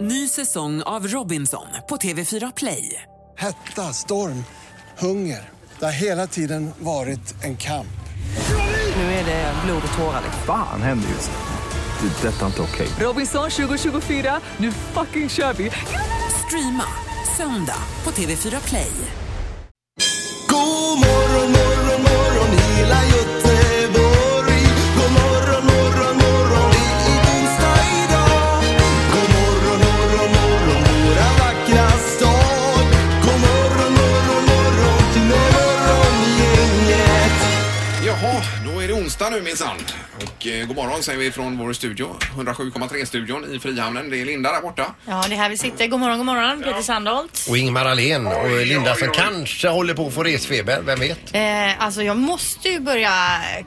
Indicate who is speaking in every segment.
Speaker 1: Ny säsong av Robinson på TV4 Play.
Speaker 2: Hetta, storm, hunger. Det har hela tiden varit en kamp.
Speaker 1: Nu är det blod och tårar. liksom.
Speaker 3: Fan händer just nu. Det. är Detta är inte okej.
Speaker 1: Robinson 2024, nu fucking kör vi! Streama söndag på TV4 Play.
Speaker 4: God morgon, morgon, morgon hela Göteborg. God morgon, morgon, morgon det är onsdag idag. God morgon, morgon, morgon våra vackra stad. God morgon, morgon, morgon till morgongänget.
Speaker 5: Jaha, då är det onsdag nu minsann. Och eh, god morgon säger vi från vår studio, 107,3-studion i Frihamnen. Det är Linda där borta.
Speaker 6: Ja, det är här vi sitter. God morgon, god morgon, Peter Sandholt.
Speaker 7: Och Ingmar Ahlén och Linda som
Speaker 5: oj.
Speaker 7: kanske håller på att få resfeber, vem vet?
Speaker 6: Eh, alltså, jag måste ju börja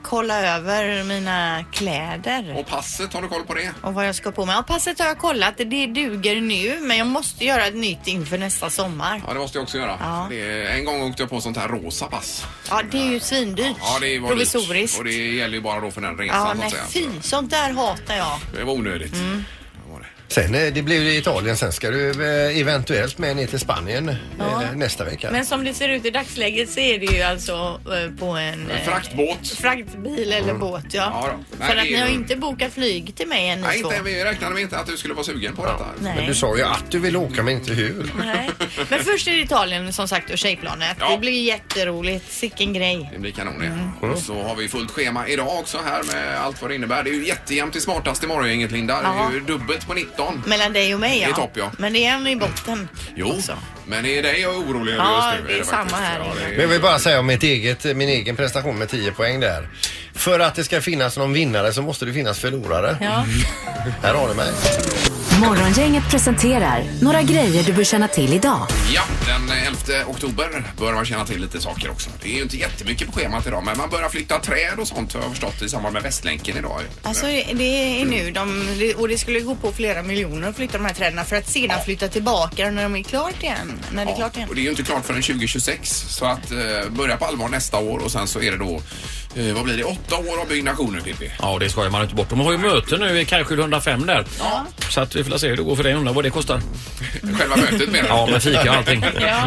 Speaker 6: kolla över mina kläder
Speaker 5: Och passet, har du koll på det?
Speaker 6: och vad jag ska på mig. Ja, passet har jag kollat. Det duger nu, men jag måste göra ett nytt inför nästa sommar.
Speaker 5: Ja, det måste jag också göra.
Speaker 6: Ja.
Speaker 5: Det är, en gång åkte jag på sånt här rosa pass.
Speaker 6: Ja, det är ju svindyrt.
Speaker 5: Ja, det var dyrt.
Speaker 6: Provisoriskt.
Speaker 5: Och det gäller ju bara då för den resan
Speaker 6: Ja,
Speaker 5: så att
Speaker 6: nej,
Speaker 5: säga.
Speaker 6: fy. Mm, Sånt där hatar jag.
Speaker 5: Så Det var onödigt. Det var det.
Speaker 7: Sen eh, det blir ju Italien, sen ska du eh, eventuellt med ner till Spanien
Speaker 6: Ja.
Speaker 7: eh, nästa vecka.
Speaker 6: Men som det ser ut i dagsläget så är det ju alltså eh, på en... eh,
Speaker 5: En fraktbåt. Mm.
Speaker 6: Fraktbil eller båt, ja.
Speaker 5: Ja, då. Nej,
Speaker 6: För
Speaker 5: det
Speaker 6: att
Speaker 5: är
Speaker 6: ni har
Speaker 5: ju-
Speaker 6: inte bokat flyg till mig än ni
Speaker 5: Nej,
Speaker 6: två.
Speaker 5: inte, vi räknade med inte att du skulle vara sugen på detta.
Speaker 6: Nej.
Speaker 7: Men du sa ju att du vill åka men inte hur.
Speaker 6: Nej. Men först är det Italien som sagt och tjejplanet.
Speaker 5: Ja.
Speaker 6: Det blir jätteroligt. Sicken grej.
Speaker 5: Det blir kanon det.
Speaker 6: Mm.
Speaker 5: Och så har vi fullt schema idag också här med allt vad det innebär. Det är ju jättejämnt i smartast i morgongänget Linda. Det är
Speaker 6: Ja.
Speaker 5: ju dubbelt på 19.
Speaker 6: Mellan dig och mig ja.
Speaker 5: Det är topp, ja.
Speaker 6: Men det är en i botten.
Speaker 5: Jo, men det är dig jag är orolig över
Speaker 6: Ja,
Speaker 5: just nu.
Speaker 6: det är samma
Speaker 5: faktiskt.
Speaker 6: här.
Speaker 5: Ja,
Speaker 7: Men
Speaker 5: det
Speaker 7: jag
Speaker 5: är...
Speaker 7: vill bara säga om mitt eget, eh, min egen prestation med 10 poäng där. För att det ska finnas någon vinnare så måste det finnas förlorare.
Speaker 6: Ja.
Speaker 7: Här har du mig.
Speaker 8: Morgongänget presenterar några grejer du bör känna till idag.
Speaker 5: ja, den 11 oktober bör man känna till lite saker också. Det är ju inte jättemycket på schemat idag, men man börjar flytta träd och sånt har jag förstått i samband med Västlänken idag.
Speaker 6: Alltså det är nu de, och det skulle gå på flera miljoner att flytta de här träden för att sedan flytta tillbaka när de är klart igen. När det är klart
Speaker 5: Ja,
Speaker 6: igen.
Speaker 5: och det är ju inte klart förrän 2026 så att eh, börja på allvar nästa år och sen så är det då, eh, vad blir det, åtta år av byggnationer Pippi?
Speaker 9: Ja, det skojar man inte bort. De har ju möte nu i Kajskjul 105 där. Så att vi får se hur det går för dig. Undrar vad det kostar.
Speaker 5: Själva mötet menar
Speaker 9: Ja, med fika och allting.
Speaker 6: Ja.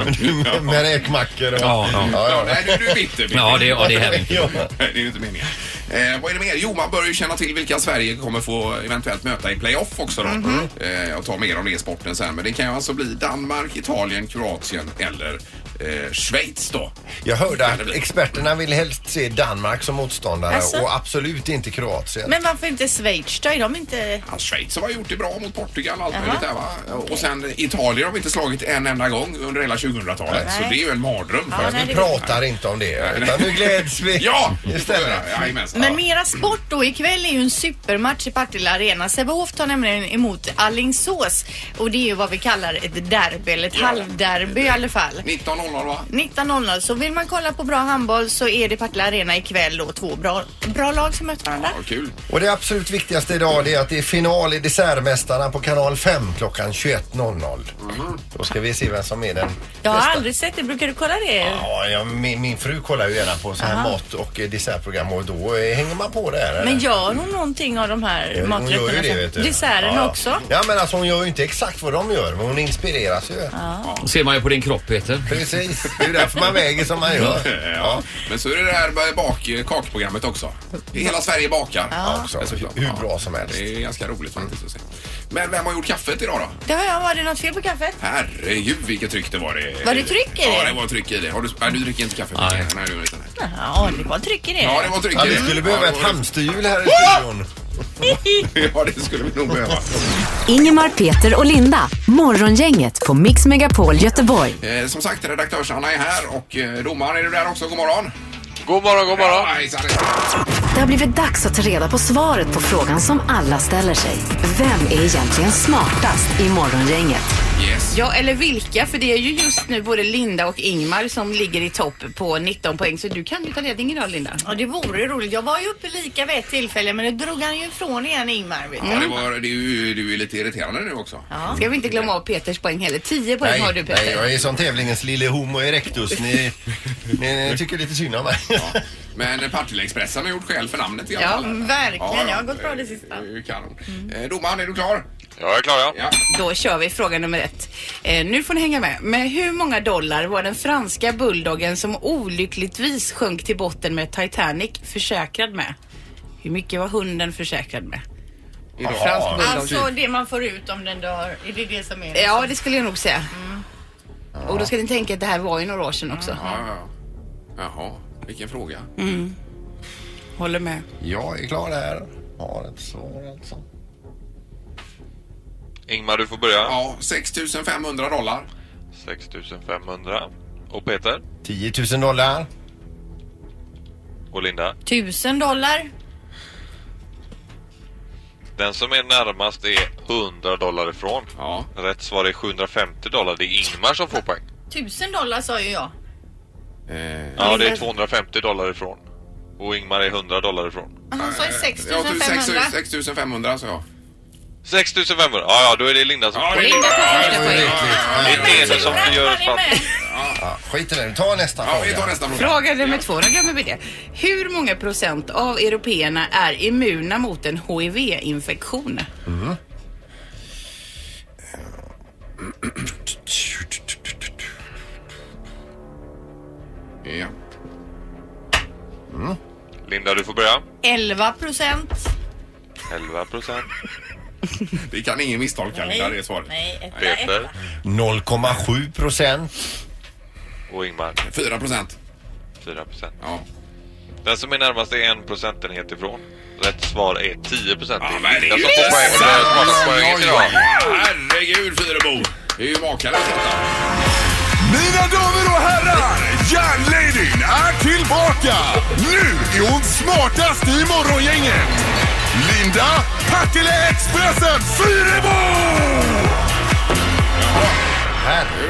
Speaker 7: Med räkmackor och...
Speaker 9: Ja, ja.
Speaker 5: Ja, nej, du, du är bitter. Pippi.
Speaker 9: Ja, det, ja, det är härligt.
Speaker 7: Ja.
Speaker 5: Det är ju inte meningen. Eh, vad är det mer? Jo, man bör ju känna till vilka Sverige kommer få eventuellt möta i playoff också då.
Speaker 6: Mhm.
Speaker 5: Eh, jag tar mer om det i sporten sen. Men det kan ju alltså bli Danmark, Italien, Kroatien eller eh, Schweiz då.
Speaker 7: Jag hörde att experterna vill helst se Danmark som motståndare
Speaker 6: Alltså?
Speaker 7: och absolut inte Kroatien.
Speaker 6: Men varför inte Schweiz då? Är de inte...
Speaker 5: Ja, Schweiz har gjort det bra mot Portugal och allt
Speaker 6: Jaha.
Speaker 5: möjligt där va. Och sen Italien har vi inte slagit en enda gång under hela 2000-talet.
Speaker 6: Nej.
Speaker 5: Så det är ju en mardröm.
Speaker 6: Ja,
Speaker 5: för
Speaker 6: nej,
Speaker 7: Vi
Speaker 6: det-
Speaker 7: pratar inte om det, utan nu gläds vi
Speaker 5: Ja, det får vi
Speaker 7: istället.
Speaker 5: göra. Jajamensan.
Speaker 6: Men mera sport då. Ikväll är ju en supermatch i Partille Arena. Sävehof tar nämligen emot Alingsås och det är ju vad vi kallar ett derby, eller ett
Speaker 5: Ja.
Speaker 6: halvderby i alla fall.
Speaker 5: 19.00 va?
Speaker 6: 19.00 så vill man kolla på bra handboll så är det Partille Arena ikväll då två bra, bra lag som möter varandra.
Speaker 5: Ja, kul.
Speaker 7: Och det absolut viktigaste idag det är att det är final i Dessertmästarna på kanal 5 klockan 21.00.
Speaker 5: Mm-hmm.
Speaker 7: Då ska vi se vem som är den
Speaker 6: Jag har
Speaker 7: bästa.
Speaker 6: aldrig sett det, brukar du kolla det?
Speaker 7: Ja, jag, min, min fru kollar ju gärna på så här mat och eh, dessertprogram och då eh, hänger man på det här.
Speaker 6: Men gör hon någonting av de här
Speaker 7: Eh, Hon gör ju
Speaker 6: maträtterna?
Speaker 7: det vet du.
Speaker 6: Desserten
Speaker 7: Ja, ja.
Speaker 6: också?
Speaker 7: Ja men alltså hon gör ju inte exakt vad de gör men hon inspireras ju.
Speaker 9: ser man ju på din kropp, Peter.
Speaker 7: Precis, det är ju därför man väger som man gör.
Speaker 5: Ja. Men så är det det här bak, kakprogrammet också. Hela Sverige bakar.
Speaker 7: Ja, också.
Speaker 5: Såklart.
Speaker 7: Alltså, Hur
Speaker 5: Ja.
Speaker 7: bra som helst.
Speaker 5: Det är ganska roligt faktiskt att se. Men vem har gjort kaffet idag då?
Speaker 6: Det har jag. Var det något fel på kaffet?
Speaker 5: Herregud vilket tryck det var. Det.
Speaker 6: Var det tryck i
Speaker 5: Ja,
Speaker 6: det?
Speaker 5: det var tryck i det. Har du, nej, du dricker inte kaffe. Nej. Nej, du gör inte det.
Speaker 6: Ja, det var tryck i det.
Speaker 5: Ja, det var tryck i
Speaker 7: Ja,
Speaker 5: det.
Speaker 7: vi skulle behöva
Speaker 5: Ja,
Speaker 7: ett
Speaker 5: det var-
Speaker 7: hamsterhjul här i studion.
Speaker 5: Ja, det skulle vi nog behöva.
Speaker 8: Ingemar, Peter och Linda. Morgongänget på Mix Megapol Göteborg.
Speaker 5: Eh, som sagt, redaktörs-Anna är här och eh, domaren är du där också. God morgon!
Speaker 10: God morgon, god morgon.
Speaker 5: Ja, hejsan,
Speaker 8: Det har blivit dags att ta reda på svaret på frågan som alla ställer sig. Vem är egentligen smartast i Morgongänget?
Speaker 5: Yes.
Speaker 11: Ja, eller vilka? För det är ju just nu både Linda och Ingmar som ligger i topp på 19 poäng. Så du kan ju ta ledningen idag, Linda.
Speaker 6: Ja, det vore ju roligt. Jag var ju uppe lika vid ett tillfälle men det drog han ju ifrån igen Ingmar. Vet du.
Speaker 5: Ja, det var, du, du är lite irriterande nu också.
Speaker 11: Ska vi inte glömma av Peters poäng heller? 10 poäng har du, Peter.
Speaker 7: nej, jag är som tävlingens lille homo erectus. Ni, ni, tycker lite synd om mig.
Speaker 5: Ja. Men Partille-Expressen har gjort skäl för namnet i alla
Speaker 6: Ja,
Speaker 5: fall.
Speaker 6: verkligen. Jag har gått bra det sista.
Speaker 5: är ju Kanon. Mm. Eh, Domaren, är du klar?
Speaker 10: Jag är klara.
Speaker 5: Ja.
Speaker 11: Då kör vi fråga nummer ett. Eh, nu får ni hänga med. Med hur många dollar var den franska bulldoggen som olyckligtvis sjönk till botten med Titanic försäkrad med? Hur mycket var hunden försäkrad med?
Speaker 6: Ja,
Speaker 11: fransk bulldog.
Speaker 6: Alltså det man får ut om den dör, är det det Mm. som är
Speaker 11: Ja, det skulle jag nog säga. Och då ska ni tänka att det här var ju några år sedan
Speaker 6: Mm.
Speaker 11: också.
Speaker 5: Ja, ja. Jaha, vilken fråga.
Speaker 11: Mm. Håller med.
Speaker 7: Jag är klar här. Har ett svar alltså.
Speaker 10: Ingmar, du får börja.
Speaker 5: Ja, 6500 dollar.
Speaker 10: 6500. Och Peter
Speaker 7: 10 000 dollar.
Speaker 10: och Linda.
Speaker 6: Tusen dollar.
Speaker 10: Den som är närmast är 100 dollar ifrån.
Speaker 5: Ja.
Speaker 10: Rätt svar är 750 dollar. Det är Ingmar som får poäng.
Speaker 6: Tusen dollar sa ju jag.
Speaker 5: Eh,
Speaker 10: Ja, det är 250 dollar ifrån. Och Ingmar är 100 dollar ifrån.
Speaker 6: Han sa ju 6
Speaker 5: ja, du,
Speaker 6: 500.
Speaker 5: 6500 sa jag.
Speaker 10: 6500. Ja, ja, då är det Linda som får poäng.
Speaker 6: Linda får första poängen.
Speaker 10: Det är Peter som gör oss fast.
Speaker 7: Ja, skit i det. Ta nästa
Speaker 5: Ja, vi
Speaker 7: fråga.
Speaker 5: tar nästa fråga.
Speaker 11: Fråga nummer två, då glömmer vi det. Hur många procent av européerna är immuna mot en HIV-infektion?
Speaker 5: Ja.
Speaker 10: Linda, du får börja.
Speaker 6: 11 procent.
Speaker 10: 11 procent.
Speaker 5: Det kan ingen misstolka, Linda, det är svaret.
Speaker 6: Nej, etta, etta.
Speaker 10: Peter
Speaker 7: 0,7 procent.
Speaker 10: och Ingmar
Speaker 5: 4 procent.
Speaker 10: 4 procent.
Speaker 5: Ja.
Speaker 10: Den som är närmast är en procentenhet ifrån. Rätt svar är 10 procent.
Speaker 5: Ja,
Speaker 10: det
Speaker 5: men
Speaker 10: är
Speaker 5: det
Speaker 10: Linda
Speaker 5: är ju
Speaker 10: som får poäng. Det är smartast poängen
Speaker 5: Oj, oj,
Speaker 10: idag.
Speaker 5: oj. Herregud, Fyrebo! Det är ju makalöst detta.
Speaker 4: Mina damer och herrar, järnladyn är tillbaka! Nu är hon smartast i morgongänget! Linda Partille Expressen Fyrebo!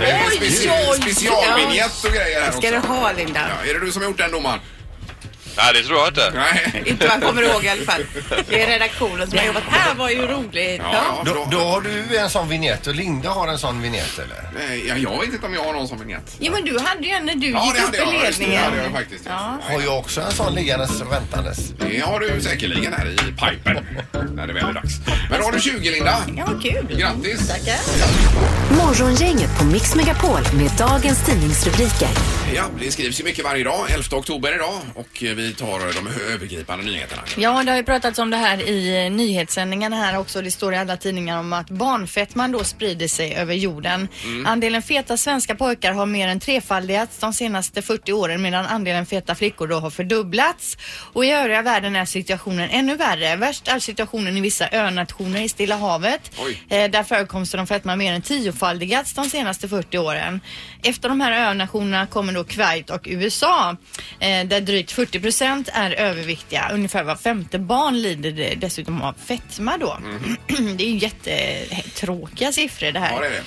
Speaker 5: Det är ju
Speaker 11: Oj,
Speaker 5: speci-
Speaker 11: oj.
Speaker 5: Specialvinjett och grejer här
Speaker 11: Ska du
Speaker 5: också.
Speaker 11: ha Linda?
Speaker 5: Ja, är det du som har gjort den domaren?
Speaker 10: Nej, det tror jag inte.
Speaker 5: Nej.
Speaker 11: Inte man kommer ihåg i alla fall. Det är redaktionen som har jobbat. Här var ju roligt.
Speaker 5: Ja,
Speaker 7: Då,
Speaker 5: bra.
Speaker 7: då har du en sån vignett och Linda har en sån vignett eller?
Speaker 5: Nej, ja, jag vet inte om jag har någon som vignett.
Speaker 6: Jo men du hade ju en när du
Speaker 5: Ja, det
Speaker 6: gick upp
Speaker 5: hade
Speaker 6: i
Speaker 5: jag. Just det, det hade
Speaker 6: ledningen.
Speaker 5: jag faktiskt.
Speaker 6: Ja.
Speaker 7: Har jag också en sån liggandes och väntandes?
Speaker 5: Det har du säkerligen här i pipen när det väl är dags. Men då har du 20 Linda.
Speaker 6: Ja, vad kul.
Speaker 5: Grattis!
Speaker 6: Tackar.
Speaker 8: Morgongänget på Mix Megapol med dagens tidningsrubriker.
Speaker 5: Ja, det skrivs ju mycket varje dag. 11 oktober idag och vi tar de övergripande nyheterna.
Speaker 6: Ja, det har ju pratats om det här i eh, nyhetssändningarna här också. Det står i alla tidningar om att barnfetman då sprider sig över jorden. Andelen feta svenska pojkar har mer än trefaldigats de senaste 40 åren medan andelen feta flickor då har fördubblats. Och i övriga världen är situationen ännu värre. Värst är situationen i vissa önationer i Stilla havet.
Speaker 5: Oj.
Speaker 6: Eh, där förekomsten av fetma mer än tiofaldigats de senaste 40 åren. Efter de här önationerna kommer då Kuwait och USA eh, där drygt 40 procent är överviktiga. Ungefär var femte barn lider det- dessutom av fetma då. det är ju jättetråkiga siffror det här.
Speaker 5: Mm. Ja, det är det.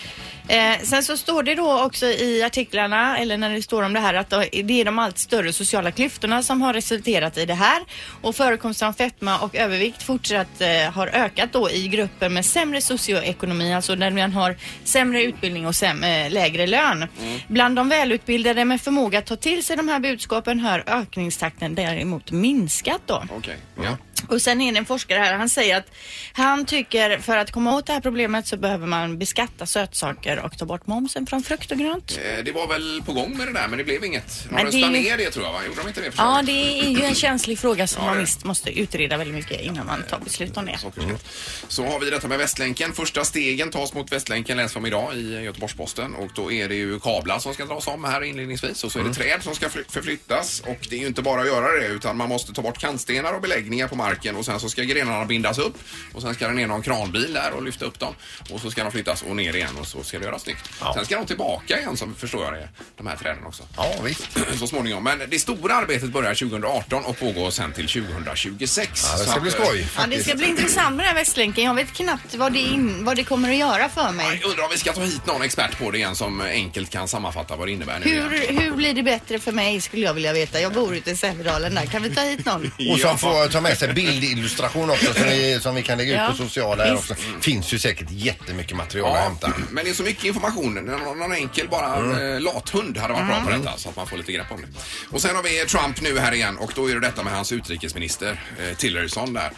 Speaker 6: Eh, sen så står det då också i artiklarna, eller när det står om det här, att det är de allt större sociala klyftorna som har resulterat i det här. Och förekomsten av fetma och övervikt fortsatt eh, har ökat då i grupper med sämre socioekonomi, alltså där man har sämre utbildning och säm- eh, lägre lön. Bland de välutbildade med förmåga att ta till sig de här budskapen har ökningstakten däremot minskat då.
Speaker 5: Okej. Ja.
Speaker 6: Och sen är det en forskare här, han säger att han tycker för att komma åt det här problemet så behöver man beskatta sötsaker och ta bort momsen från frukt och grönt.
Speaker 5: Eh, Det var väl på gång med det där men det blev inget. De
Speaker 6: Men det är
Speaker 5: röstade
Speaker 6: ju-
Speaker 5: ner det tror jag va? Gjorde de inte det?
Speaker 6: Ja,
Speaker 5: förslaget?
Speaker 6: det är ju en känslig fråga som
Speaker 5: Ja,
Speaker 6: man
Speaker 5: det är.
Speaker 6: visst måste utreda väldigt mycket innan man tar beslut om det.
Speaker 5: Sockerskatt. Mm. Så har vi detta med Västlänken. Första stegen tas mot Västlänken läser vi om idag i Göteborgs-Posten och då är det ju kablar som ska dras om här inledningsvis och så är
Speaker 7: Mm.
Speaker 5: det träd som ska fly- förflyttas och det är ju inte bara att göra det utan man måste ta bort kantstenar och beläggningar på marken och sen så ska grenarna bindas upp och sen ska det ner någon kranbil där och lyfta upp dem och så ska de flyttas och ner igen och så ska det göras snyggt. Sen ska de tillbaka igen som förstår jag det, de här träden också
Speaker 7: Ja visst.
Speaker 5: så småningom. Men det stora arbetet börjar 2018 och pågår sen till 2026.
Speaker 7: Ja, det
Speaker 5: Så
Speaker 7: ska
Speaker 5: att,
Speaker 7: bli
Speaker 5: eh,
Speaker 7: skoj
Speaker 6: Ja, det ska
Speaker 7: faktiskt.
Speaker 6: bli intressant med den här Västlänken. Jag vet knappt vad det, in, vad det kommer att göra för mig.
Speaker 5: Jag undrar om vi ska ta hit någon expert på det igen som enkelt kan sammanfatta vad det innebär nu igen.
Speaker 6: Hur, hur blir det bättre för mig skulle jag vilja veta. Jag bor ute i Sävedalen där. Kan vi ta hit någon?
Speaker 7: Och som får ta med sig bildillustration också som vi, som vi kan lägga ut
Speaker 5: Ja,
Speaker 7: på sociala här
Speaker 5: visst.
Speaker 7: också. finns ju säkert jättemycket material att
Speaker 5: Ja,
Speaker 7: hämta.
Speaker 5: men det är så mycket information. Någon, någon enkel bara
Speaker 6: Mm.
Speaker 5: eh, lathund hade varit bra på detta så att man får lite grepp om det. Och sen har vi Trump nu här igen och då är det detta med hans utrikesminister eh, Tillerson där.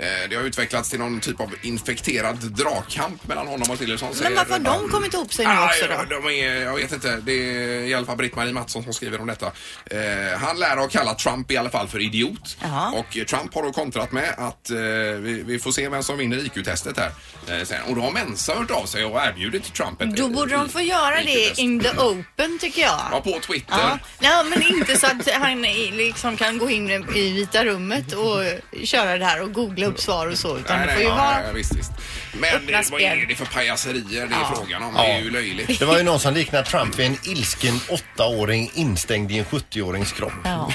Speaker 5: Eh, det har utvecklats till någon typ av infekterad dragkamp mellan honom och Tillerson.
Speaker 6: Men varför har de kommit ihop sig nu också då?
Speaker 5: då? De är, jag vet inte. Det är i alla fall Britt-Marie Mattsson som skriver om detta. Eh, han lär ha kallat Trump i alla fall för idiot. Och eh, Trump har då kontrat med att eh, vi, vi får se vem som vinner IQ-testet här. Eh, sen. Och då har Mensa hört av sig och erbjudit Trump ett...
Speaker 6: Då borde de få göra det in the open tycker jag.
Speaker 5: Ja, på Twitter.
Speaker 6: Ja, nej, men inte så att han i- liksom kan gå in i Vita rummet och köra det här och googla upp svar och så. Utan det får ju
Speaker 5: ja,
Speaker 6: vara...
Speaker 5: ja, visst, visst. Men
Speaker 6: öppna
Speaker 5: eh, vad är
Speaker 6: spel.
Speaker 5: det för pajaserier det är
Speaker 6: Ja.
Speaker 5: frågan om?
Speaker 7: Ja.
Speaker 5: Det är ju löjligt.
Speaker 7: Det var ju någon som liknade Trump vid en ilsken åttaåring instängd i en 70-årings kropp.
Speaker 6: Ja.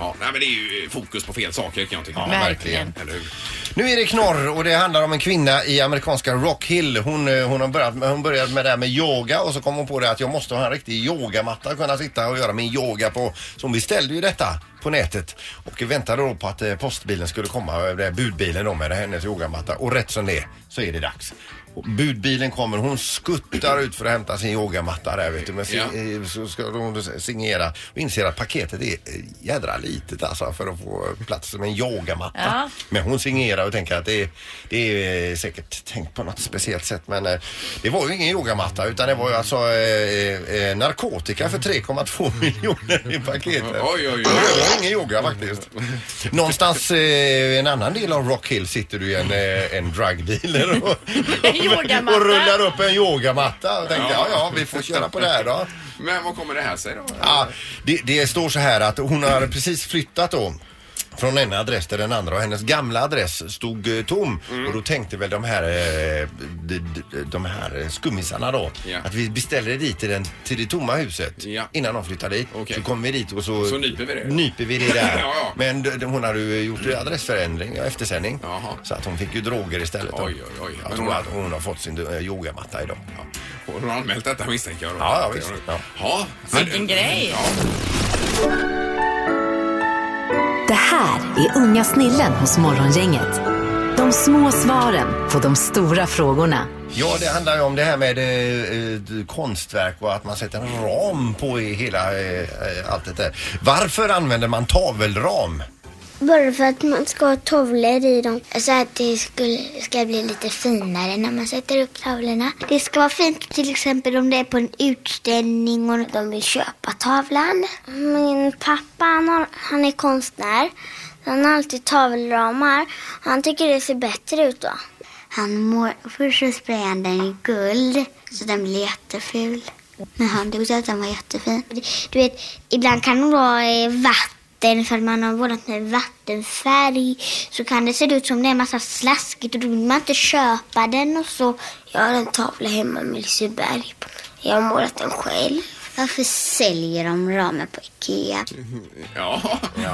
Speaker 5: Ja, nej, men det är ju eh, fokus på fel saker kan jag tycka.
Speaker 7: Ja, verkligen.
Speaker 5: Eller hur?
Speaker 7: Nu är det knorr och det handlar om en kvinna i amerikanska Rock Hill. Hon, eh, hon, har börjat, med- hon började med det här med yoga och så kom hon på det att jag måste ha en riktig yogamatta att kunna sitta och göra min yoga på. Så hon beställde ju detta på nätet och väntade då på att eh, postbilen skulle komma, eh, det här budbilen då med hennes yogamatta och rätt som det är så är det dags. Och Budbilen kommer, hon skuttar ut för att hämta sin yogamatta där vet du. Men sin,
Speaker 5: Ja.
Speaker 7: eh, så ska hon signera och inser att paketet är eh, jädra litet alltså för att få plats med en yogamatta.
Speaker 6: Ja.
Speaker 7: Men hon signerar och tänker att det är, det är eh, säkert tänkt på något speciellt sätt. Men eh, det var ju ingen yogamatta utan det var ju alltså eh, eh, narkotika för 3,2 miljoner i paketet.
Speaker 5: Oj, oj, oj.
Speaker 7: Det var ingen yoga faktiskt. Någonstans eh, i en annan del av Rock Hill sitter du i en, eh, en drugdealer och,
Speaker 6: Yogamatta.
Speaker 7: och rullar upp en yogamatta. Och tänkte, ja. ja, vi får köra på det här då.
Speaker 5: Men vad kommer det här sig då?
Speaker 7: Ja, det, det står så här att hon har precis flyttat då. Från en adress till den andra och hennes gamla adress stod eh, tom.
Speaker 5: Mm.
Speaker 7: Och då tänkte väl de här, eh, d- d- de här eh, skummisarna då
Speaker 5: Ja.
Speaker 7: att vi beställer dit till, den, till det tomma huset innan de flyttar dit. Så kommer vi dit och så,
Speaker 5: Så nyper vi det.
Speaker 7: nyper vi det där.
Speaker 5: Ja, ja.
Speaker 7: Men d- d- hon hade ju gjort adressförändring, ja, eftersändning. Så att hon fick ju droger istället. då.
Speaker 5: Oj, oj, oj.
Speaker 7: Jag
Speaker 5: Men
Speaker 7: tror
Speaker 5: hon-
Speaker 7: att hon har fått sin eh, yogamatta idag.
Speaker 5: Hon har anmält detta misstänker jag. då.
Speaker 7: Ja, ja, visst. Ja.
Speaker 5: Ja,
Speaker 6: Vilken grej!
Speaker 8: Det här är unga snillen hos Morgongänget. De små svaren på de stora frågorna.
Speaker 7: Ja, det handlar ju om det här med eh, eh, konstverk och att man sätter en ram på i hela eh, eh, allt det där. Varför använder man tavelram?
Speaker 12: Bara för att man ska ha tavlor i dem. Så att det skulle, ska bli lite finare när man sätter upp tavlorna. Det ska vara fint till exempel om det är på en utställning och de vill köpa tavlan. Min pappa han, har, han är konstnär. Han har alltid tavelramar. Han tycker det ser bättre ut då. Han mår, först så sprayar han den i guld så den blir jätteful. Men han tyckte att den var jättefin. Du vet, ibland kan det vara eh, vatten, ifall man har målat med vattenfärg så kan det se ut som det är en massa slaskigt och då vill man inte köpa den och så. Jag har en tavla hemma med Liseberg på. Jag har målat den själv. Varför säljer de ramen på Ikea?
Speaker 5: Ja.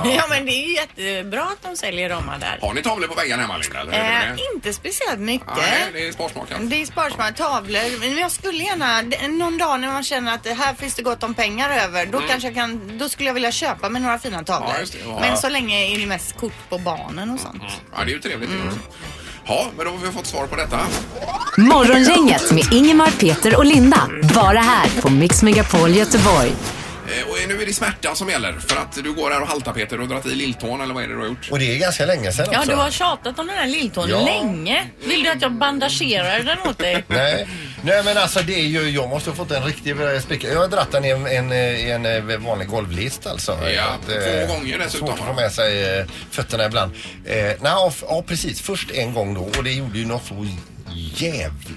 Speaker 6: Ja men det är ju jättebra att de säljer ramar där.
Speaker 5: Har ni tavlor på väggarna hemma Linda? eller hur är
Speaker 6: Eh,
Speaker 5: det?
Speaker 6: inte speciellt mycket.
Speaker 5: Nej, det är sparsmakat.
Speaker 6: Det är sparsmakat tavlor. Men jag skulle gärna, det- någon dag när man känner att det här finns det gott om pengar över,
Speaker 7: Mm.
Speaker 6: då kanske jag kan, då skulle jag vilja köpa med några fina tavlor.
Speaker 5: Ja, just det, ja.
Speaker 6: Men så länge är det mest kort på barnen och
Speaker 7: Mm.
Speaker 6: sånt.
Speaker 5: Ja, det är ju trevligt det
Speaker 6: Mm.
Speaker 5: också. Ja, men då har vi fått svar på detta.
Speaker 8: Morgongänget med Ingemar, Peter och Linda. Bara här på Mix Megapol Göteborg.
Speaker 5: Eh, Och nu är det smärta som gäller för att du går här och haltar Peter och dragit i lilltån eller vad är det du har gjort?
Speaker 7: Och det är ganska länge sedan
Speaker 11: Ja,
Speaker 7: också.
Speaker 11: du har tjatat om den här lilltån
Speaker 7: Ja.
Speaker 11: länge. Vill du att jag bandagerar den åt dig?
Speaker 7: Nej. Nej men alltså det är ju, jag måste ha fått en riktig eh, spricka. Jag har dratt den i en, en, eh, i en eh, vanlig golvlist alltså.
Speaker 5: Ja,
Speaker 7: Att, eh,
Speaker 5: två gånger dessutom,
Speaker 7: Svårt att
Speaker 5: va?
Speaker 7: få med sig eh, fötterna ibland. Eh, nej, ja, f- ja precis, först en gång då och det gjorde ju något så jävligt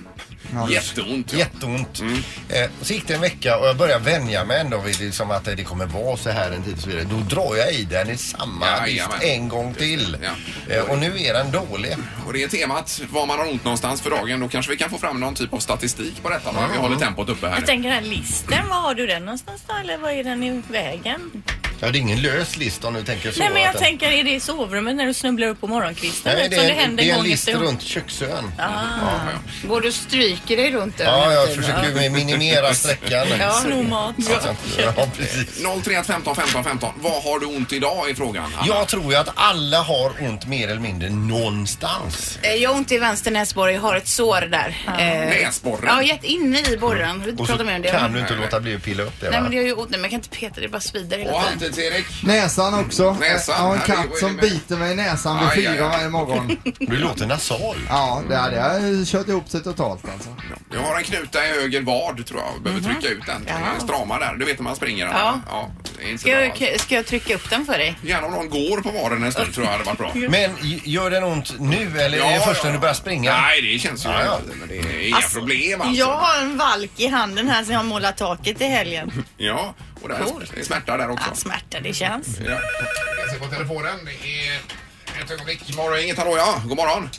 Speaker 5: Jätteont. Ja. Mm.
Speaker 7: Jätteont. Eh, och så gick det en vecka och jag började vänja mig ändå vid liksom att eh, det kommer vara så här en tid och så vidare. Då drar jag i den i samma
Speaker 5: Ja,
Speaker 7: list
Speaker 5: jajamän.
Speaker 7: en gång till. Eh, och nu är den dålig.
Speaker 5: Och det är temat var man har ont någonstans för dagen. Då kanske vi kan få fram någon typ av statistik på detta. va? Vi håller tempot uppe här
Speaker 11: Jag
Speaker 5: nu.
Speaker 11: tänker den här listen, var har du den någonstans då? Eller var är den i vägen?
Speaker 7: Ja, det är ingen lös list om du tänker så.
Speaker 6: Nej men jag
Speaker 7: att-
Speaker 6: tänker, är det i sovrummet när du snubblar upp på morgonkvisten?
Speaker 7: Nej, det
Speaker 6: Eftersom
Speaker 7: är, en-
Speaker 6: händer
Speaker 7: det är en
Speaker 6: gång
Speaker 7: list
Speaker 6: efter gång.
Speaker 7: runt köksön.
Speaker 6: Ah.
Speaker 11: Går du och stryker dig runt
Speaker 7: Ja,
Speaker 11: ölen
Speaker 7: jag
Speaker 11: lite?
Speaker 7: försöker
Speaker 11: Ja.
Speaker 7: ju minimera sträckan.
Speaker 11: Ja, sno mat.
Speaker 7: Så att jag inte- Ja, precis.
Speaker 5: 031 15 15 15. Vad har du ont idag i frågan? Anna?
Speaker 7: Jag tror ju att alla har ont mer eller mindre någonstans.
Speaker 11: Eh, Jag har ont i vänster näsborre, jag har ett sår där. Eh,
Speaker 7: Näsborren?
Speaker 11: Ja, jätte- inne i borren. Vi
Speaker 7: Och så
Speaker 11: pratar mer om det.
Speaker 7: kan du inte låta bli att pilla upp det
Speaker 11: Nej
Speaker 7: va?
Speaker 11: men det gör ju ont, nej, men jag kan inte peta det, det bara svider hela
Speaker 5: Och
Speaker 11: tiden.
Speaker 5: alltid Erik.
Speaker 4: Näsan också.
Speaker 5: Näsan,
Speaker 4: Jag har en
Speaker 5: här är- vad
Speaker 4: katt
Speaker 5: är
Speaker 4: som
Speaker 5: det med?
Speaker 4: biter mig i näsan vid
Speaker 5: Aj, aj,
Speaker 4: fyra
Speaker 5: aj.
Speaker 4: varje morgon.
Speaker 7: Du låter nasal.
Speaker 4: Ja, det hade jag kört ihop sig totalt alltså.
Speaker 5: Du har en knuta i höger vad tror jag. Behöver
Speaker 7: Mhm.
Speaker 5: trycka ut den. Den är Strama där. Du vet när man springer.
Speaker 11: Ja.
Speaker 5: ja det är inte
Speaker 11: Ska
Speaker 5: bra.
Speaker 11: jag, ska jag trycka upp den för dig?
Speaker 5: Gärna om någon går på vaden en stund tror jag hade varit bra.
Speaker 7: Men j- gör den ont nu eller är det
Speaker 5: Ja,
Speaker 7: först
Speaker 5: ja.
Speaker 7: när du börjar springa?
Speaker 5: Nej, det känns ju...
Speaker 7: Ja, ja.
Speaker 5: Men det är inga problem alltså.
Speaker 6: Jag har en valk i handen här som jag målar taket i helgen.
Speaker 5: Ja, och där är smärta där också.
Speaker 7: Alltså.
Speaker 6: Ja, smärta det känns.
Speaker 5: Ja. Jag ser på telefonen. Det är ett ögonblick. Morgon, inget hallå ja. God morgon.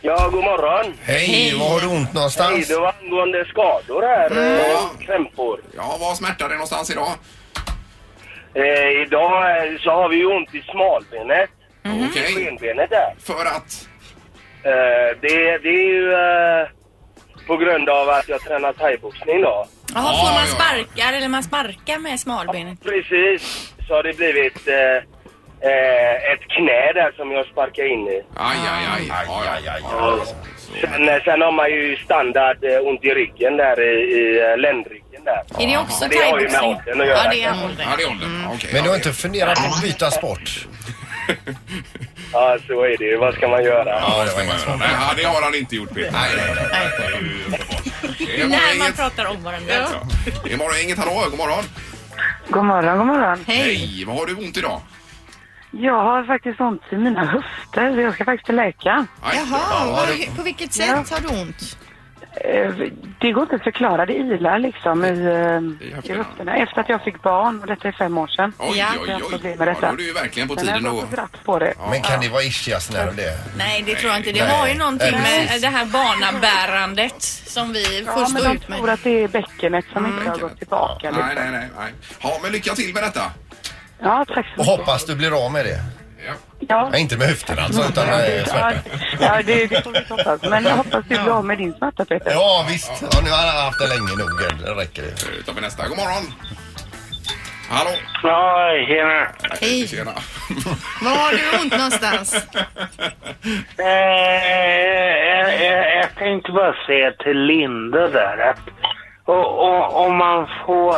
Speaker 13: Ja, god morgon.
Speaker 7: Hej, var har du ont någonstans?
Speaker 13: Hej, det var angående skador här. eh, Krämpor.
Speaker 5: Ja, var smärtar det någonstans idag?
Speaker 13: Eh, idag eh, så har vi ju ont i smalbenet.
Speaker 5: Okej.
Speaker 13: Skenbenet där.
Speaker 5: För att?
Speaker 13: Eh, det, det är ju eh, på grund av att jag tränar thaiboxning då.
Speaker 6: Jaha, får man sparkar eller man sparkar med smalbenet?
Speaker 13: Precis, så har det blivit eh, eh, ett knä där som jag sparkar in i.
Speaker 5: Aj, aj, aj. aj, aj, aj,
Speaker 13: Sen, eh, sen har man ju standard eh, ont i ryggen där i, i eh, ländryggen där.
Speaker 6: Är det också
Speaker 13: Men Det har ju med
Speaker 6: thaiboxning?
Speaker 13: åldern att göra.
Speaker 6: Ja, det är
Speaker 13: kanske.
Speaker 6: åldern.
Speaker 5: Ja, det är åldern. Okej.
Speaker 7: Men du har inte funderat på att byta sport?
Speaker 13: Ja, så är det ju. Vad ska man göra?
Speaker 5: Ja, det, ska man göra. Nej, det har han inte gjort Peter. Nej, nej, nej. Det är
Speaker 6: När man
Speaker 5: inget-
Speaker 6: pratar om varandra. Ja.
Speaker 5: Det är morgon, inget hallå, god morgon.
Speaker 14: God morgon, god morgon.
Speaker 5: Hej, vad har du ont idag?
Speaker 14: Jag har faktiskt ont i mina höfter så jag ska faktiskt till läkaren.
Speaker 6: Jaha, var, på vilket sätt har du ont?
Speaker 14: Eh, Det går inte att förklara, det ilar liksom i, eh,
Speaker 5: höfterna.
Speaker 14: i höfterna. Efter att jag fick barn, och detta är fem år sedan.
Speaker 5: Oj,
Speaker 14: Jag
Speaker 5: oj, oj.
Speaker 14: har haft problem med
Speaker 5: Ja, då
Speaker 14: detta.
Speaker 5: är det ju verkligen på
Speaker 14: Men
Speaker 5: tiden
Speaker 14: jag har
Speaker 5: att...
Speaker 14: fått rapp på det.
Speaker 7: Men kan det vara ischiasnerv det?
Speaker 6: Nej, det tror jag inte. Det
Speaker 7: Nej.
Speaker 6: har ju någonting
Speaker 7: Nej,
Speaker 6: med
Speaker 7: precis.
Speaker 6: det här barnabärandet som vi får
Speaker 14: Ja, men
Speaker 6: stå
Speaker 14: de
Speaker 6: ut med. Mm.
Speaker 14: tror att det är bäckenet som inte har gått tillbaka.
Speaker 5: Nej, nej, nej, nej. Ja, men lycka till med detta.
Speaker 14: Ja, tack så
Speaker 7: Och
Speaker 14: mycket.
Speaker 7: hoppas du blir av med det.
Speaker 14: Ja.
Speaker 7: Nej, inte med höften alltså, utan med
Speaker 14: Ja,
Speaker 7: smärta.
Speaker 14: ja, det, det får vi hoppas. Men jag hoppas du blir av med din smärta, Peter.
Speaker 7: Ja, visst. Ja, nu har jag haft det länge nog. Det räcker det.
Speaker 5: Nu tar vi nästa. God morgon. Hallå.
Speaker 13: Ja, tjena.
Speaker 5: Hej. Tjena.
Speaker 6: Var har du ont någonstans?
Speaker 13: Eh, jag, jag, jag tänkte bara säga till Linda där att och, och, om man får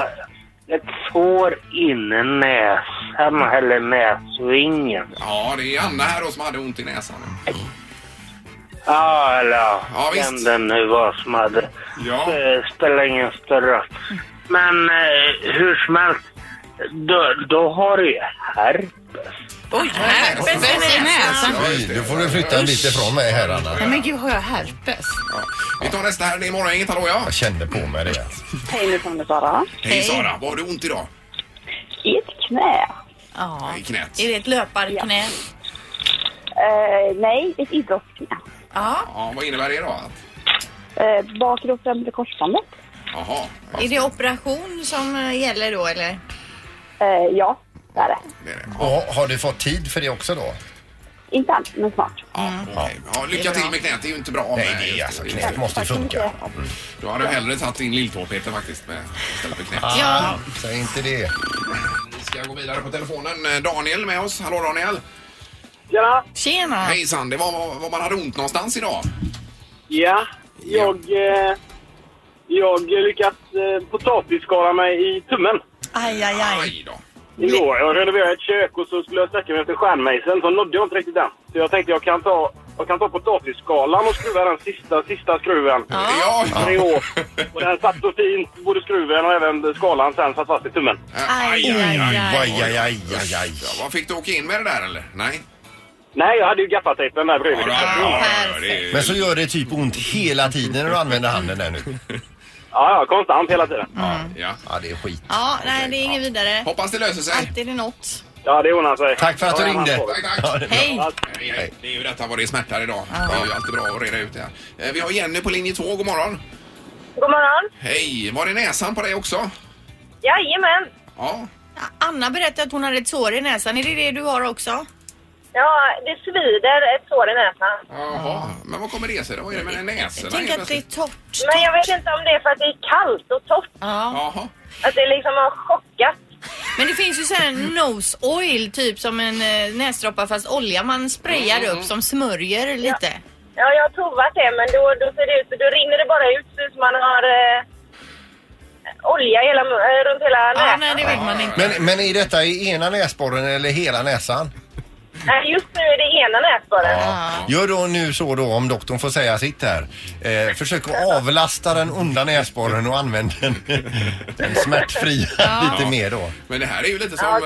Speaker 13: ett sår inne i näsan eller näsvingen.
Speaker 5: Ja, det är Anna här då som hade ont i näsan.
Speaker 13: Ja, eller
Speaker 5: Ja, visst.
Speaker 13: vem det nu var som hade.
Speaker 5: Ja.
Speaker 13: Eh, Spelar ingen större roll. Men eh, hur som helst, då, då har du ju herpes.
Speaker 11: Oj, herpes i näsan.
Speaker 7: Fy, Nu får du flytta en bit ifrån mig här, Anna.
Speaker 11: Nej, men gud, har jag herpes?
Speaker 5: Vi tar nästa här. Det är morgon, inget hallå ja.
Speaker 7: Jag kände på mig det.
Speaker 14: Hej, nu kommer Sara.
Speaker 5: Hej Sara, vad har du ont idag?
Speaker 14: I ett knä.
Speaker 6: Ja.
Speaker 5: I knät.
Speaker 6: Är det ett löparknä?
Speaker 14: Eh, nej, ett idrottsknä.
Speaker 6: Ja.
Speaker 5: Ja, vad innebär det då? Att-
Speaker 15: Eh,
Speaker 14: bakre och främre korsbandet.
Speaker 5: Jaha.
Speaker 6: Är det operation som eh, gäller då eller?
Speaker 15: Eh,
Speaker 14: ja, det är det.
Speaker 7: Och har du fått tid för det också då?
Speaker 14: Inte alls, men snart.
Speaker 5: Okej. Ja, lycka till med knät, Mm. det är ju inte bra.
Speaker 7: Nej,
Speaker 5: men-
Speaker 7: det är alltså knät måste ju funka.
Speaker 5: Då hade jag hellre tagit in lilltå Peter faktiskt med, istället för knät.
Speaker 7: Ah, Säg inte det.
Speaker 5: Vi ska gå vidare på telefonen. Eh, Daniel med oss. Hallå Daniel!
Speaker 13: Tjena!
Speaker 6: Tjena!
Speaker 5: Hejsan, det var var- var man hade ont någonstans idag.
Speaker 13: Ja, jag, eh, jag lyckas eh, potatisskala mig i tummen.
Speaker 6: Aj, aj, aj.
Speaker 13: Igår, jag renoverade ett kök och så skulle jag sträcka mig efter stjärnmejseln, så nådde jag inte riktigt den. Så jag tänkte jag kan ta, jag kan ta potatisskalan och skruva den sista, sista skruven.
Speaker 5: Ja!
Speaker 13: Tre år. Och den satt så fint, både skruven och även skalan sen satt fast i tummen.
Speaker 5: Äh, Aj,
Speaker 13: aj, aj.
Speaker 7: Aj, aj, aj, aj, aj.
Speaker 5: Ja, vad fick du åka in med det där eller? Nej?
Speaker 13: Nej, jag hade ju gaffatejpen där bredvid.
Speaker 5: Ja,
Speaker 7: Men så gör det typ ont hela tiden när du använder handen där nu.
Speaker 13: ja, konstant hela tiden.
Speaker 5: Ja,
Speaker 7: ja det är skit.
Speaker 6: Ja, nej det är inget vidare.
Speaker 5: Hoppas det löser sig.
Speaker 6: Alltid är något.
Speaker 13: Ja, det ordnar sig.
Speaker 7: Tack för att du ringde. Ja, det är bra.
Speaker 6: Hej!
Speaker 5: Nej, nej, Det är ju detta vad det är smärtar idag. Det är ju alltid bra att reda ut det här. Eh, Vi har Jenny på linje 2, god morgon.
Speaker 16: God morgon.
Speaker 5: Hej! Var det näsan på dig också?
Speaker 16: Jajamän.
Speaker 5: Ja.
Speaker 6: Anna berättade att hon hade ett sår i näsan. Är det det du har också?
Speaker 17: Ja, det svider ett sår i näsan.
Speaker 5: Jaha, men vad kommer det sig då? Vad är det med näsorna?
Speaker 6: Tänk att det är torrt.
Speaker 17: Men jag vet inte om det är för att det är kallt och torrt.
Speaker 5: Jaha.
Speaker 17: Att det liksom har chockat.
Speaker 6: Men det finns ju sån här nose oil, typ som en eh, näsdroppa fast olja man
Speaker 5: Mm,
Speaker 6: sprayar upp som smörjer lite.
Speaker 17: Ja, jag har provat det, men då, då ser det ut då rinner det bara ut så som man har eh, olja hela, eh, runt hela näsan.
Speaker 6: nej, det vill man
Speaker 7: Men, men är detta i ena näsborren eller hela näsan?
Speaker 17: Nej, just nu är det ena näsborren.
Speaker 7: Gör då nu så då om doktorn får säga sitt här. Eh, försök att avlasta den onda näsborren och använd den, den smärtfria
Speaker 5: Ja.
Speaker 7: lite mer då.
Speaker 5: Men det här är ju lite som eh,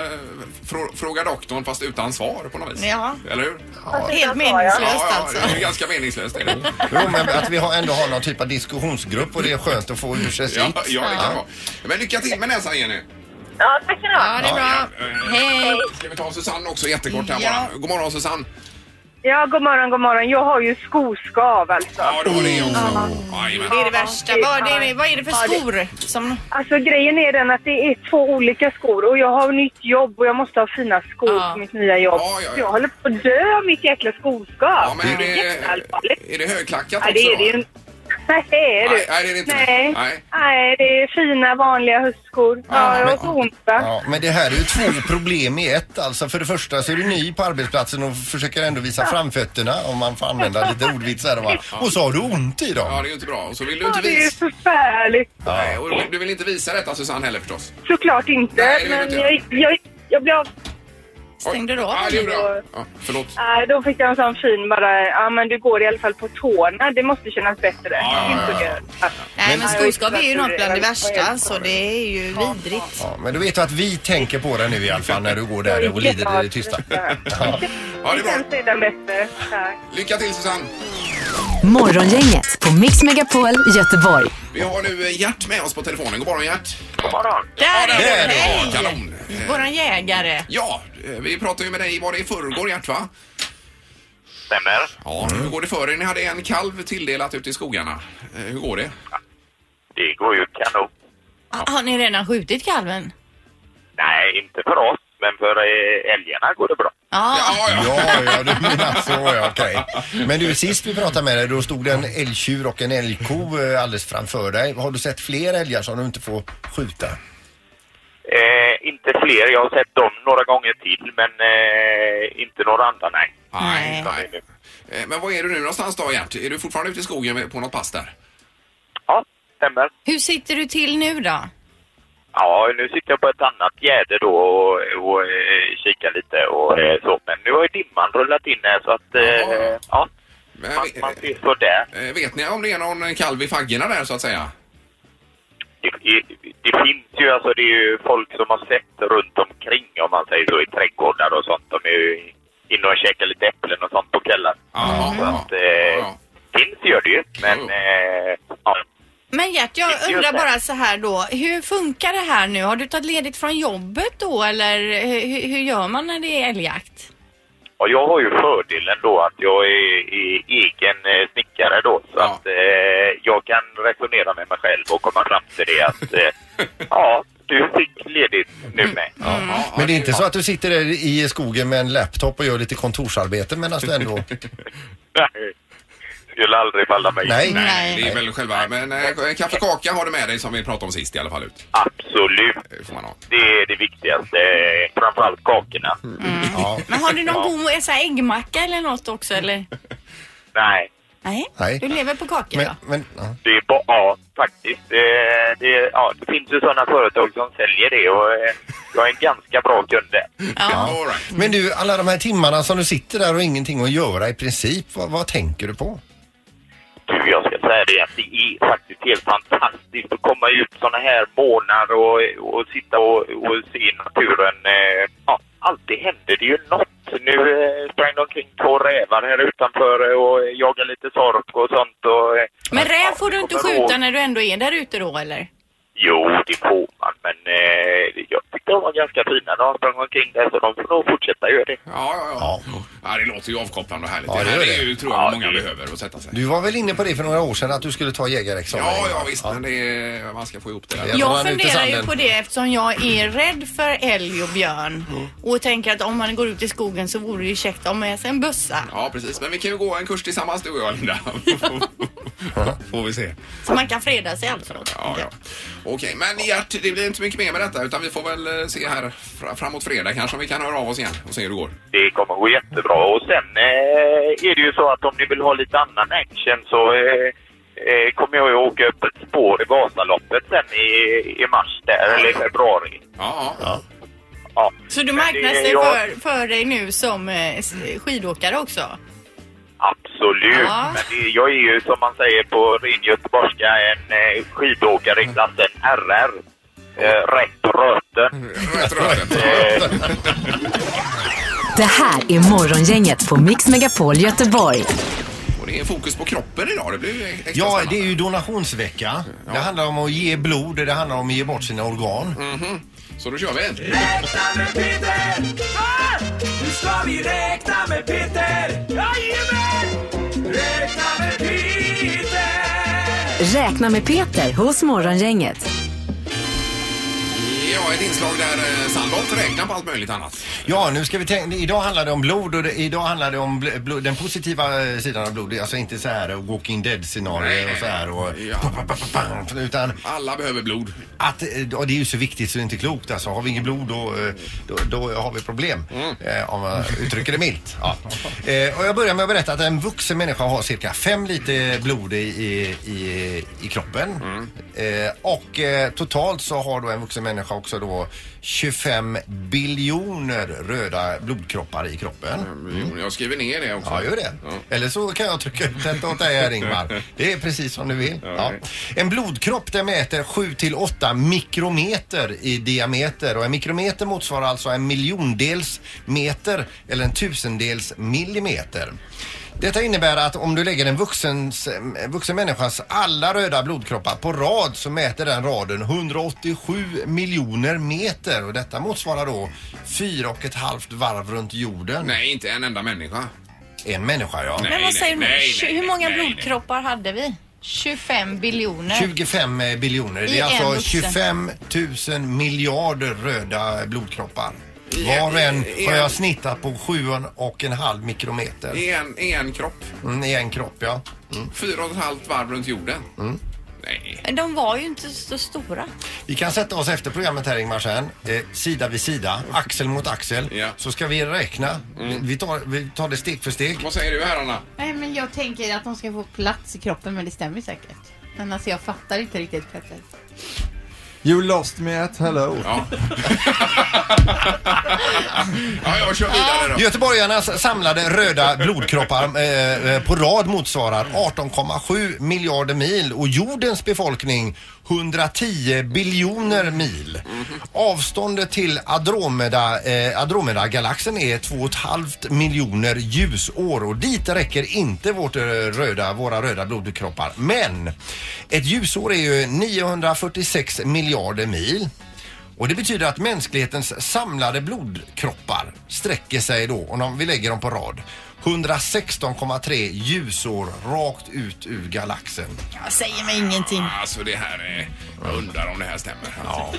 Speaker 5: frå- Fråga doktorn fast utan svar på något vis.
Speaker 6: Ja.
Speaker 5: Eller hur?
Speaker 6: Helt meningslöst
Speaker 5: ja,
Speaker 6: alltså.
Speaker 5: Ja, det är ju ganska meningslöst. Är det.
Speaker 7: Jo, men att vi har ändå har någon typ av diskussionsgrupp och det är skönt att få ur sig sitt.
Speaker 5: Ja, ja, det kan vara. Men lycka till med näsan Jenny.
Speaker 17: Ja, tack ska ni ha.
Speaker 5: Ja, Hej! Ska vi ta Susanne också jättekort här
Speaker 17: Ja.
Speaker 5: bara. God morgon Susanne.
Speaker 15: Ja, god morgon, god morgon. Jag har ju skoskav alltså.
Speaker 5: Ja, det har ni också.
Speaker 6: Det är det värsta. Vad är det, vad är det för skor? Som...
Speaker 15: Alltså grejen är den att det är två olika skor och jag har nytt jobb och jag måste ha fina skor på mitt nya jobb.
Speaker 5: Ja, ja, ja.
Speaker 15: Jag håller på att dö av mitt jäkla skoskav. Ja,
Speaker 5: men är det-
Speaker 15: Jätteallvarligt.
Speaker 5: Är det högklackat
Speaker 15: Nej, det är
Speaker 5: också?
Speaker 15: det ju inte. Nej, är
Speaker 5: Nej, nej, det är det inte.
Speaker 15: Nej.
Speaker 5: Nej.
Speaker 15: Nej, det är fina vanliga höstskor. Ja, jag har så ont. va?
Speaker 7: Ja, men det här är ju två problem i ett alltså. För det första så är du ny på arbetsplatsen och försöker ändå visa framfötterna om man får använda lite ordvitsar. va? Och så har du ont idag.
Speaker 5: Ja, det är ju inte bra. Och så vill du
Speaker 15: Ja,
Speaker 5: inte
Speaker 15: det är
Speaker 5: visa...
Speaker 15: förfärligt.
Speaker 5: Nej, och du- du vill inte visa detta Susanne heller förstås.
Speaker 15: Såklart inte,
Speaker 5: Nej, det vill
Speaker 15: men
Speaker 5: du
Speaker 15: jag,
Speaker 5: inte.
Speaker 15: jag, jag blev av...
Speaker 6: Stängde du av
Speaker 5: Ja, det gjorde jag. Ja, förlåt.
Speaker 15: Nej, då fick jag en sån fin bara, ja men du går i alla fall på tårna, det måste kännas bättre. Inte så gött.
Speaker 6: Nej, men
Speaker 15: Men-
Speaker 6: skoskav är ju något bland det värsta, så det är ju vidrigt.
Speaker 7: Ja, men då vet du att vi tänker på det nu i alla fall när du går där och lider i det tysta. Ja.
Speaker 5: Ja, det är bra.
Speaker 15: Sedan bättre. Tack.
Speaker 5: Lycka till Susanne.
Speaker 8: Morgongänget på Mix Megapol Göteborg.
Speaker 5: Vi har nu eh, Gert med oss på telefonen. God morgon Gert. God
Speaker 15: morgon.
Speaker 6: Där
Speaker 5: ja,
Speaker 6: är
Speaker 5: där
Speaker 6: du.
Speaker 5: är du.
Speaker 6: Hej.
Speaker 5: Kanon.
Speaker 6: Våran jägare.
Speaker 5: Ja, eh, vi pratade ju med dig, var det i förrgår Gert va?
Speaker 18: Stämmer.
Speaker 5: Ja, hur går det för er? Ni hade en kalv tilldelat ute i skogarna. Eh, Hur går det?
Speaker 18: Det går ju kanon.
Speaker 6: Har ni redan skjutit kalven?
Speaker 18: Nej, inte för oss, men för eh, älgarna går det bra.
Speaker 6: Ja.
Speaker 7: Ja, ja, du menar så, ja, okej. Men du, sist vi pratade med dig, då stod det en älgtjur och en älgko eh, alldeles framför dig. Har du sett fler älgar som du inte får skjuta?
Speaker 18: Eh, inte fler. Jag har sett dem några gånger till, men eh, inte några andra, nej.
Speaker 5: Nej.
Speaker 18: Utan det är nu.
Speaker 5: Eh, Men var är du nu någonstans då Gert? Är du fortfarande ute i skogen med- på något pass där?
Speaker 18: Stämmer.
Speaker 6: Hur sitter du till nu då?
Speaker 18: Ja, nu sitter jag på ett annat gärde då och, och eh, kikar lite och eh, så. Men nu har ju dimman rullat in här, så att eh, ja, man, man ser så där.
Speaker 5: Eh, Vet ni om det är någon kalv i faggorna där så att säga?
Speaker 18: Det, det- det finns ju alltså, det är ju folk som har sett runt omkring om man säger så i trädgårdar och sånt. De är ju inne och käkar lite äpplen och sånt på kvällen. Så att, eh, finns gör det ju, men eh, ja.
Speaker 6: Men Gert, jag undrar bara så här då. Hur funkar det här nu? Har du tagit ledigt från jobbet då eller hur, hur gör man när det är älgjakt?
Speaker 18: Och jag har ju fördelen då att jag är, är egen eh, snickare då. Så att eh, jag kan resonera med mig själv och komma fram till det att eh, ja, du fick ledigt nu med.
Speaker 7: Mm. Men det är inte så att du sitter där i skogen med en laptop och gör lite kontorsarbete medan du ändå...
Speaker 18: Nej, skulle aldrig falla mig in.
Speaker 7: Nej.
Speaker 5: Nej, det är väl själva. Men eh, kaffe och kaka har du med dig som vi pratade om sist i alla fall. Ut.
Speaker 18: Absolut. Det är det viktigaste. eh, Framförallt kakorna.
Speaker 7: Ja.
Speaker 6: Men har du
Speaker 18: Ja.
Speaker 6: någon god så här, äggmacka eller något också eller?
Speaker 18: Nej.
Speaker 6: Nej?
Speaker 7: Nej.
Speaker 6: Du lever på kakor då?
Speaker 18: Det är bara, ja, faktiskt. Eh, Det, är- ja, det finns ju sådana företag som säljer det och eh, jag är en ganska bra kund där.
Speaker 7: Ja. Men du, alla de här timmarna som du sitter där och ingenting att göra i princip, vad, vad tänker du på?
Speaker 18: Du, jag ska säga det att det är faktiskt helt fantastiskt att komma ut såna här månader och, och sitta och, och se naturen. Eh, ja, alltid händer det ju något. Nu eh, sprang det omkring två rävar här utanför eh, och jagade lite sork och sånt. Och, eh,
Speaker 6: Men räv får du inte
Speaker 18: kommer ihåg.
Speaker 6: skjuta när du ändå är där ute då eller?
Speaker 18: jo, det får man, men eh, jag, verkar vara ganska fina. De har sprungit omkring där så de får nog fortsätta göra det.
Speaker 5: Ja, ja, ja. ja det låter ju avkopplande och härligt.
Speaker 7: Ja,
Speaker 5: det,
Speaker 7: det
Speaker 5: här
Speaker 7: gör
Speaker 5: är
Speaker 7: det.
Speaker 5: ju, tror jag
Speaker 7: Ja,
Speaker 5: många
Speaker 7: det-
Speaker 5: behöver att sätta sig.
Speaker 7: Du var väl inne på det för några år sedan att du skulle ta jägarexamen?
Speaker 5: Ja, ja visst, men det är, man ska få ihop det där.
Speaker 6: Jag funderar ju på det eftersom jag är rädd för älg och björn och tänker att om man går ut i skogen så vore det ju käckt att ha med sig en bössa.
Speaker 5: Ja, precis. Men vi kan ju gå en kurs tillsammans du och jag, Linda. Får vi se.
Speaker 6: Så man kan freda sig alltså.
Speaker 5: Ja, ja. Okej, men Gert, det blir inte mycket mer med detta utan vi får väl eh, se här fra- framåt fredag kanske om vi kan höra av oss igen och se hur det går.
Speaker 18: Det kommer gå jättebra. Och sen eh, är det ju så att om ni vill ha lite annan action så eh, eh, kommer jag ju åka upp ett spår i Vasaloppet sen i, i mars där, eller i februari.
Speaker 5: Ja,
Speaker 7: ja.
Speaker 18: ja.
Speaker 6: Så du
Speaker 18: Men
Speaker 6: marknadsför
Speaker 18: det-
Speaker 6: dig
Speaker 18: jag-
Speaker 6: för, för dig nu som eh, s- skidåkare också?
Speaker 18: Absolut.
Speaker 6: Ja.
Speaker 18: Men det, jag är ju som man säger på ren göteborgska en eh, skidåkare i klassen RR. Eh, rätt röten.
Speaker 5: Rätt röten.
Speaker 18: Eh.
Speaker 8: Det här är Morgongänget på Mix Megapol Göteborg.
Speaker 5: Och det är fokus på kroppen idag. Det blir ju extra
Speaker 7: Ja,
Speaker 5: spännande.
Speaker 7: det är ju donationsvecka. Det handlar om att ge blod, det handlar om att ge bort sina organ.
Speaker 5: Mm. Så då kör vi.
Speaker 4: Nu ska vi räkna med Peter! Jajamän! Räkna med Peter!
Speaker 8: Räkna med Peter hos Morgongänget.
Speaker 5: Ja, ett inslag där eh, Sandholt räknar på allt möjligt annat.
Speaker 7: Ja, nu ska vi tänka. Idag handlar det om blod och det, idag handlar det om bl- blod, den positiva eh, sidan av blod. Det är Alltså inte så här eh, Walking Dead
Speaker 5: Nej,
Speaker 7: scenario
Speaker 5: nej,
Speaker 7: och så här och...
Speaker 5: Ja.
Speaker 7: Utan
Speaker 5: Alla behöver blod.
Speaker 7: att, eh, och det är ju så viktigt så det är inte klokt alltså. Har vi inget blod då, eh, då, då har vi problem. Eh, om man uttrycker det milt. Ja. Eh, och jag börjar med att berätta att en vuxen människa har cirka fem liter blod i, i, i, i kroppen. Eh, och eh, totalt så har då en vuxen människa också då 25 biljoner röda blodkroppar i kroppen.
Speaker 5: Mm. Jo, Jag skriver ner det också.
Speaker 7: Mm. Ja, gör det. Eller så kan jag trycka ut detta åt dig här Ingmar. Det är precis som du vill. Ja. En blodkropp den mäter 7 till 8 mikrometer i diameter och en mikrometer motsvarar alltså en miljondels meter eller en tusendels millimeter. Detta innebär att om du lägger en vuxens, en vuxen människas alla röda blodkroppar på rad så mäter den raden 187 miljoner meter och detta motsvarar då fyra och ett halvt varv runt jorden.
Speaker 5: Nej, inte en enda människa.
Speaker 7: En människa ja.
Speaker 6: Men vad säger du? Tju- Hur många blodkroppar hade vi? 25 biljoner.
Speaker 7: 25 eh, biljoner. Det
Speaker 6: I
Speaker 7: är
Speaker 6: en
Speaker 7: alltså
Speaker 6: vuxen.
Speaker 7: 25 000 miljarder röda blodkroppar. Var och en
Speaker 5: i- i
Speaker 7: har
Speaker 5: en-
Speaker 7: jag snittat på 7,5 mikrometer.
Speaker 5: I en, i en kropp.
Speaker 7: Mm, I en kropp, ja. Mm.
Speaker 5: Fyra och ett halvt varv runt jorden. Nej.
Speaker 6: Men De var ju inte så stora.
Speaker 7: Vi kan sätta oss efter programmet här Ingmar sen, eh, sida vid sida, axel mot axel. Så ska vi räkna. Vi, tar, vi tar det steg för steg.
Speaker 5: Vad säger du herrarna?
Speaker 13: Nej, men jag tänker att de ska få plats i kroppen, men det stämmer säkert. Men alltså jag fattar inte riktigt Petter.
Speaker 19: You lost me at hello.
Speaker 5: Ja, jag kör vidare då.
Speaker 7: Göteborgarnas samlade röda blodkroppar eh, eh, på rad motsvarar 18,7 miljarder mil och jordens befolkning 110 biljoner mil. Avståndet till Andromeda, eh, Andromeda-galaxen är 2,5 miljoner ljusår och dit räcker inte vårt eh, röda, våra röda blodkroppar. Men ett ljusår är ju 946 miljarder mil. Och det betyder att mänsklighetens samlade blodkroppar sträcker sig då, och om vi lägger dem på rad, 116,3 ljusår rakt ut ur galaxen.
Speaker 13: Jag säger mig ingenting.
Speaker 5: Alltså det här är... Jag undrar om det här stämmer. Ja.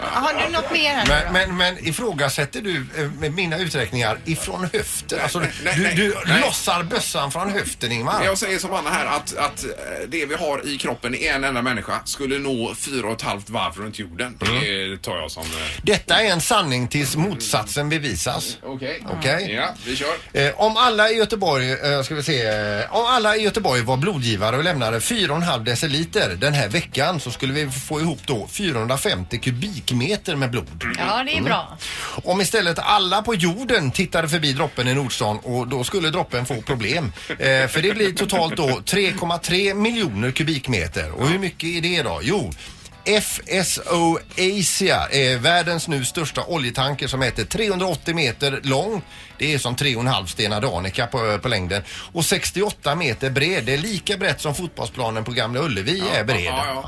Speaker 13: Har du något mer här nu
Speaker 7: Men, men, men ifrågasätter du eh, med mina uträkningar ifrån höften? Alltså, du, du, du lossar bössan från höften, Ingmar.
Speaker 5: Alltså, Jag säger som Anna här att, att eh, det vi har i kroppen i en enda människa skulle nå fyra och ett halvt varv runt jorden.
Speaker 7: Mm.
Speaker 5: Det tar jag som... eh,
Speaker 7: Detta är en sanning tills motsatsen bevisas.
Speaker 5: Okej.
Speaker 7: Okej.
Speaker 5: Ja, vi kör.
Speaker 7: Eh, om alla i Göteborg, eh, ska vi se, eh, om alla i Göteborg var blodgivare och lämnade 4,5 deciliter den här veckan så skulle vi få ihop då 450 kubikmeter med blod.
Speaker 6: Ja, det är bra.
Speaker 7: Om istället alla på jorden tittade förbi droppen i Nordstan och då skulle droppen få problem. Eh, för det blir totalt då 3,3 miljoner kubikmeter. Och hur mycket är det då? Jo, FSO Asia är världens nu största oljetanker som mäter 380 meter lång. Det är som 3,5 Stena Danica på, på längden. Och 68 meter bred. Det är lika brett som fotbollsplanen på Gamla Ullevi är bred.
Speaker 5: ja, ja.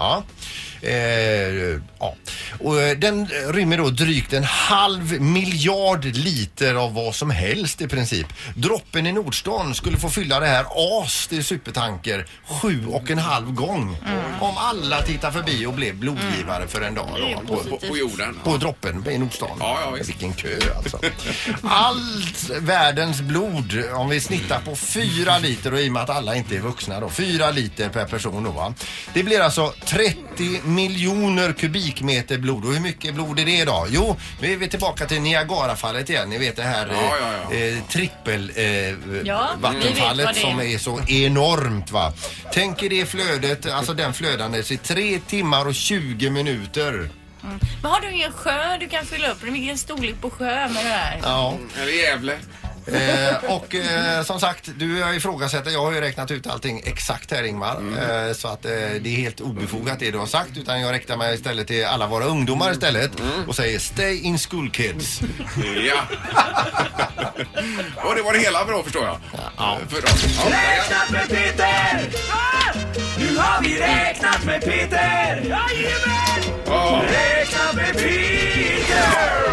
Speaker 7: Ja. Eh, ja. Och, eh, den rymmer då drygt en halv miljard liter av vad som helst i princip. Droppen i Nordstan skulle få fylla det här as till supertanker sju och en halv gång.
Speaker 5: Mm.
Speaker 7: Om alla tittar förbi och blev blodgivare för en dag.
Speaker 5: Det är
Speaker 7: Då,
Speaker 5: positivt. På- på jorden.
Speaker 7: På droppen i Nordstan. Vilken kö alltså. Allt världens blod, om vi snittar på fyra liter och i och med att alla inte är vuxna då, fyra liter per person då va. Det blir alltså 30 miljoner kubikmeter blod och hur mycket blod är det idag? Jo, nu är vi tillbaka till Niagarafallet igen, ni vet det här eh, Eh, trippel eh,
Speaker 4: Ja, vi vet vad det är.
Speaker 7: vattenfallet som är så enormt va. Tänk er det flödet, alltså den flödandes i tre timmar och 20 minuter.
Speaker 20: Mm. Men har du ingen sjö du kan fylla upp? Det är Vilken storlek på sjö med det här?
Speaker 7: Ja.
Speaker 5: Eller Gävle.
Speaker 7: Eh, och eh, som sagt, du har ifrågasätter, jag har ju räknat ut allting exakt här Ingmar. Eh, så att eh, det är helt obefogat det du har sagt. Utan jag räknar mig istället till alla våra ungdomar istället och säger stay in school kids.
Speaker 5: Ja. Och det var det hela bra förstår jag. Ja. För dem.
Speaker 4: Räknat med Peter! Nu har vi räknat med Peter! Jajamän! Räknat med Peter!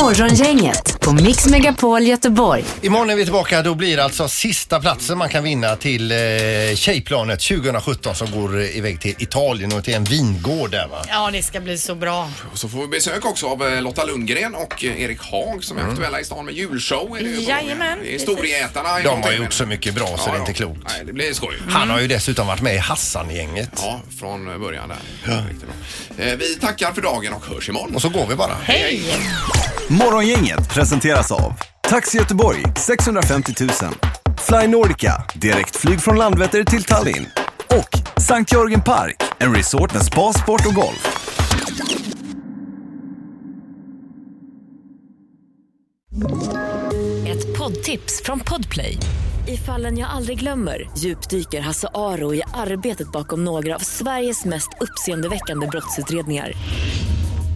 Speaker 8: Morgongänget på Mix Megapol Göteborg.
Speaker 7: Imorgon är vi tillbaka. Då blir det alltså sista platsen man kan vinna till eh, Tjejplanet 2017 som går eh, iväg till Italien och till en vingård där va.
Speaker 6: Ja, det ska bli så bra.
Speaker 5: Och så får vi besök också av eh, Lotta Lundgren och eh, Erik Haag som är
Speaker 7: Mm.
Speaker 5: aktuella i stan med julshow. Är det ju på gång.
Speaker 6: Jajamän,
Speaker 5: Det är
Speaker 6: precis.
Speaker 5: Storgätarna. i
Speaker 7: De har
Speaker 5: containern.
Speaker 7: gjort så mycket bra så det är inte klokt.
Speaker 5: Nej, det blir skoj.
Speaker 7: Han har ju dessutom varit med i Hassan-gänget.
Speaker 5: Ja, från eh, början där. Riktigt bra. Eh, Vi tackar för dagen och hörs imorgon. Och
Speaker 7: så går vi bara.
Speaker 5: Hej!
Speaker 21: Morgongänget presenteras av Taxi Göteborg 650 000 Fly Nordica, direktflyg från Landvetter till Tallinn och Sankt Jörgen Park, en resort med spa, sport och golf.
Speaker 22: Ett poddtips från Podplay. I fallen jag aldrig glömmer djupdyker Hasse Aro i arbetet bakom några av Sveriges mest uppseendeväckande brottsutredningar.